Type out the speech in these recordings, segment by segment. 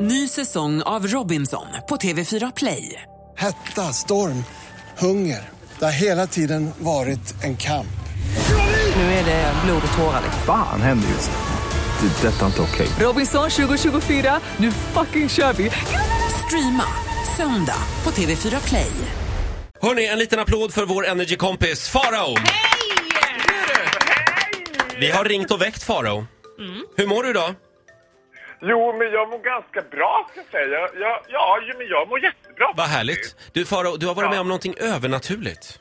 Ny säsong av Robinson på TV4 Play. Hetta, storm, hunger. Det har hela tiden varit en kamp. Nu är det blod och tårar. Fan händer just nu. Det. är Detta är inte okej. Robinson 2024, nu fucking kör vi! Streama söndag på TV4 Play. Hörni, en liten applåd för vår energikompis Farao. Vi har ringt och väckt Farao. Mm. Hur mår du idag? Jo, men jag mår ganska bra ska jag säga. Jag, jag, ja, jo, men jag mår jättebra. Vad härligt. Du Farao, du har varit Ja. med om någonting övernaturligt.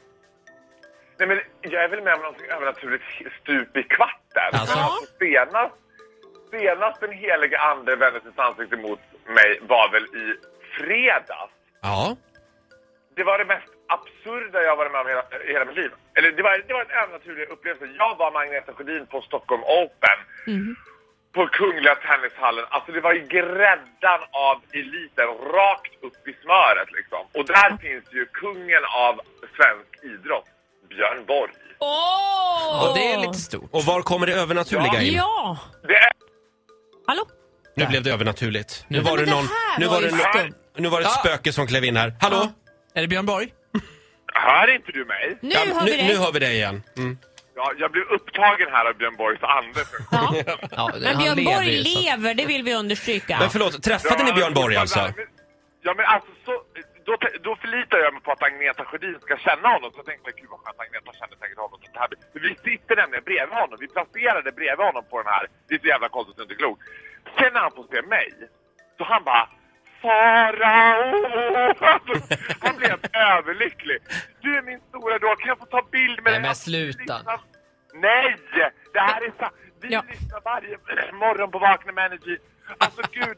Nej, men jag är väl med om någonting övernaturligt stup i kvarten. Alltså? Men senast, senast den heliga ande vände sitt ansikte mot mig var väl i fredags. Ja. Det var det mest absurda jag har varit med om hela, i hela mitt liv. Eller det var, det var en övernaturlig upplevelse. Jag var Magneta Sjödin på Stockholm Open. På Kungliga Tennishallen. Alltså det var ju gräddan av eliten rakt upp i smöret liksom. Och där finns ju kungen av svensk idrott, Björn Borg. Åh! Ja, det är lite stort. Och var kommer det övernaturliga in? Ja! Det är Hallå? Nu blev det övernaturligt. Nu var men det det någon... här Nu var var det ju no- skumt. nu var det ett Ja. spöke som klev in här. Hallå? Är det Björn Borg? Hör inte du mig? Nu Ja, hör vi nu, nu dig. hör vi dig igen. Mm. Ja, jag blev upptagen här av Björn Borgs ande. Ja. Ja, Men Björn Borg ju, så- lever, det vill vi understryka. Men förlåt, träffade ni Björn Borg alltså? Ja, men alltså så, då, då förlitar jag mig på att Agneta Sjödin ska känna honom. Så jag tänkte, gud vad skönt, Agneta känner säkert honom. Så det här, blir- för vi sitter nämligen bredvid honom. Vi placerade bredvid honom på den här. Det är så jävla konstigt och inte klokt. Sen när han får se mig, så han bara Farao! Alltså, han blev överlycklig. Du är min stora idol, kan jag få ta bild med Nej, dig? men Alltså, sluta. lyssna- Nej! Det här är sant. Vi Ja. lyssnar varje morgon på Vakna med Energy. Alltså gud,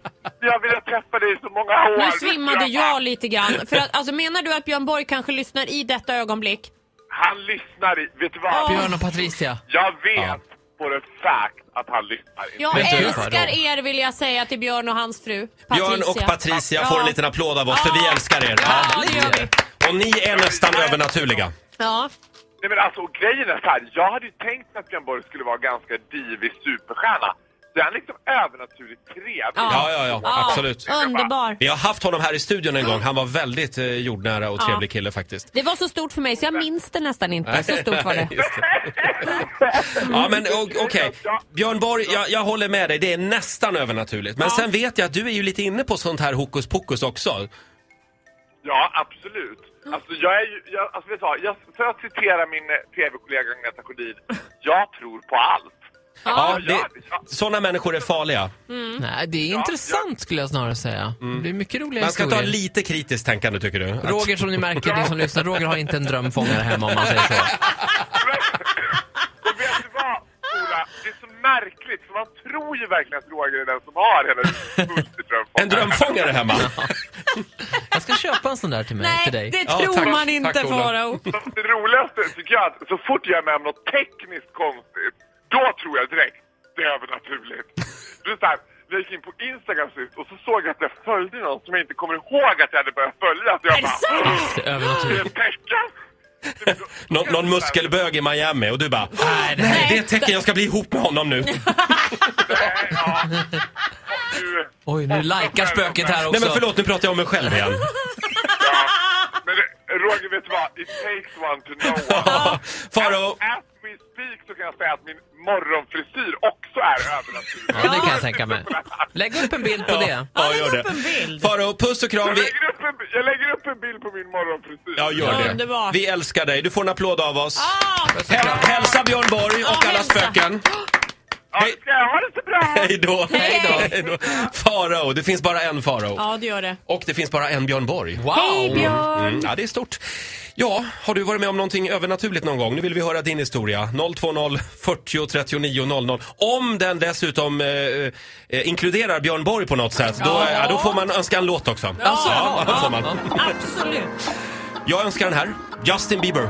jag vill träffa dig i så många år. Nu svimmade jag lite grann. För att, alltså, menar du att Björn Borg kanske lyssnar i detta ögonblick? Han lyssnar i, vet du vad? Ja. Björn och Patricia. Jag vet på the fact att han lyssnar i. Jag Vet du- älskar er vill jag säga till Björn och hans fru Patricia. Björn och Patricia får en liten applåd av oss, för vi Ja. älskar er. Ja, det gör vi. Och ni är nästan övernaturliga. Ja. Nej men alltså och grejen är så här, jag hade ju tänkt att Björn Borg skulle vara ganska divig superstjärna. Så är han liksom övernaturligt trevlig. Ja, ja, ja, absolut. Underbar. Vi har haft honom här i studion en gång. Han var väldigt eh, jordnära och trevlig kille faktiskt. Det var så stort för mig så jag minns det nästan inte. Så stort var det. Just det. Ja, men o- okej. Björn Borg, jag, jag håller med dig. Det är nästan övernaturligt. Men sen vet jag att du är ju lite inne på sånt här hokus pokus också. Ja, absolut. Alltså, jag är ju, jag, alltså, vet du vad, jag, för att citera min eh, tv-kollega Agneta Sjödin, jag tror på allt. Ja, jag det, gör det, ja. såna människor är farliga. Nej, det är intressant skulle jag snarare säga. Det blir mycket roliga Mm. Man ska ta historier. lite kritiskt tänkande, tycker du? Att- Roger som ni märker, ni som lyssnar, Roger har inte en drömfångare hemma om man säger så. Men, och vet du vad, Ola? Det är så märkligt, för man tror ju verkligen att Roger är den som har hela huset fullt i drömfångare. En drömfångare hemma? Jag ska köpa en sån där till mig, Nej, till det dig. Ja, tror tack. man inte Tack, Ola. Farao. Fast Det roligaste tycker jag att så fort jag är med om något tekniskt konstigt, då tror jag direkt det är övernaturligt. Det är så här, jag gick in på Instagram sist och så såg jag att jag följde någon som jag inte kommer ihåg att jag hade börjat följa. Så jag Är det bara, sant? Det är övernaturligt. Det är ett tecken! Nå någon muskelbög i Miami och du bara Nej, det, är ett tecken. Jag ska bli ihop med honom nu. Nej, ja. Och du- Oj, nu likar spöket här också. Nej, men förlåt. Nu pratar jag om mig själv igen. Men det- Roger, vet du vad? It takes one to know one. Farao, As we speak så kan jag säga att min morgonfrisyr också är övernaturlig. Ja, det kan jag tänka mig. Lägg upp en bild på det. Ja, gör det. Farao, puss och kram. Jag Vi, lägger, upp en, jag lägger upp en bild på min morgonfrisyr. ja, gör det. Underbart. Vi älskar dig. Du får en applåd av oss. Ah, Häl, hälsa Björn Borg och Ja, alla hälsa. spöken. Ja, nu ska jag ha det så bra! Hej då. Hej då. Hej då. Farao, det finns bara en Farao. Ja, det gör det. Och det finns bara en Björn Borg. Wow! Hej, Björn. Mm, ja, det är stort. Ja, har du varit med om någonting övernaturligt någon gång? Nu vill vi höra din historia. 020 40 39 00. Om den dessutom eh, eh, inkluderar Björn Borg på något sätt, då, eh, ja, då får man önska en låt också. Alltså, ja, då får man. Absolut. Jag önskar den här. Justin Bieber.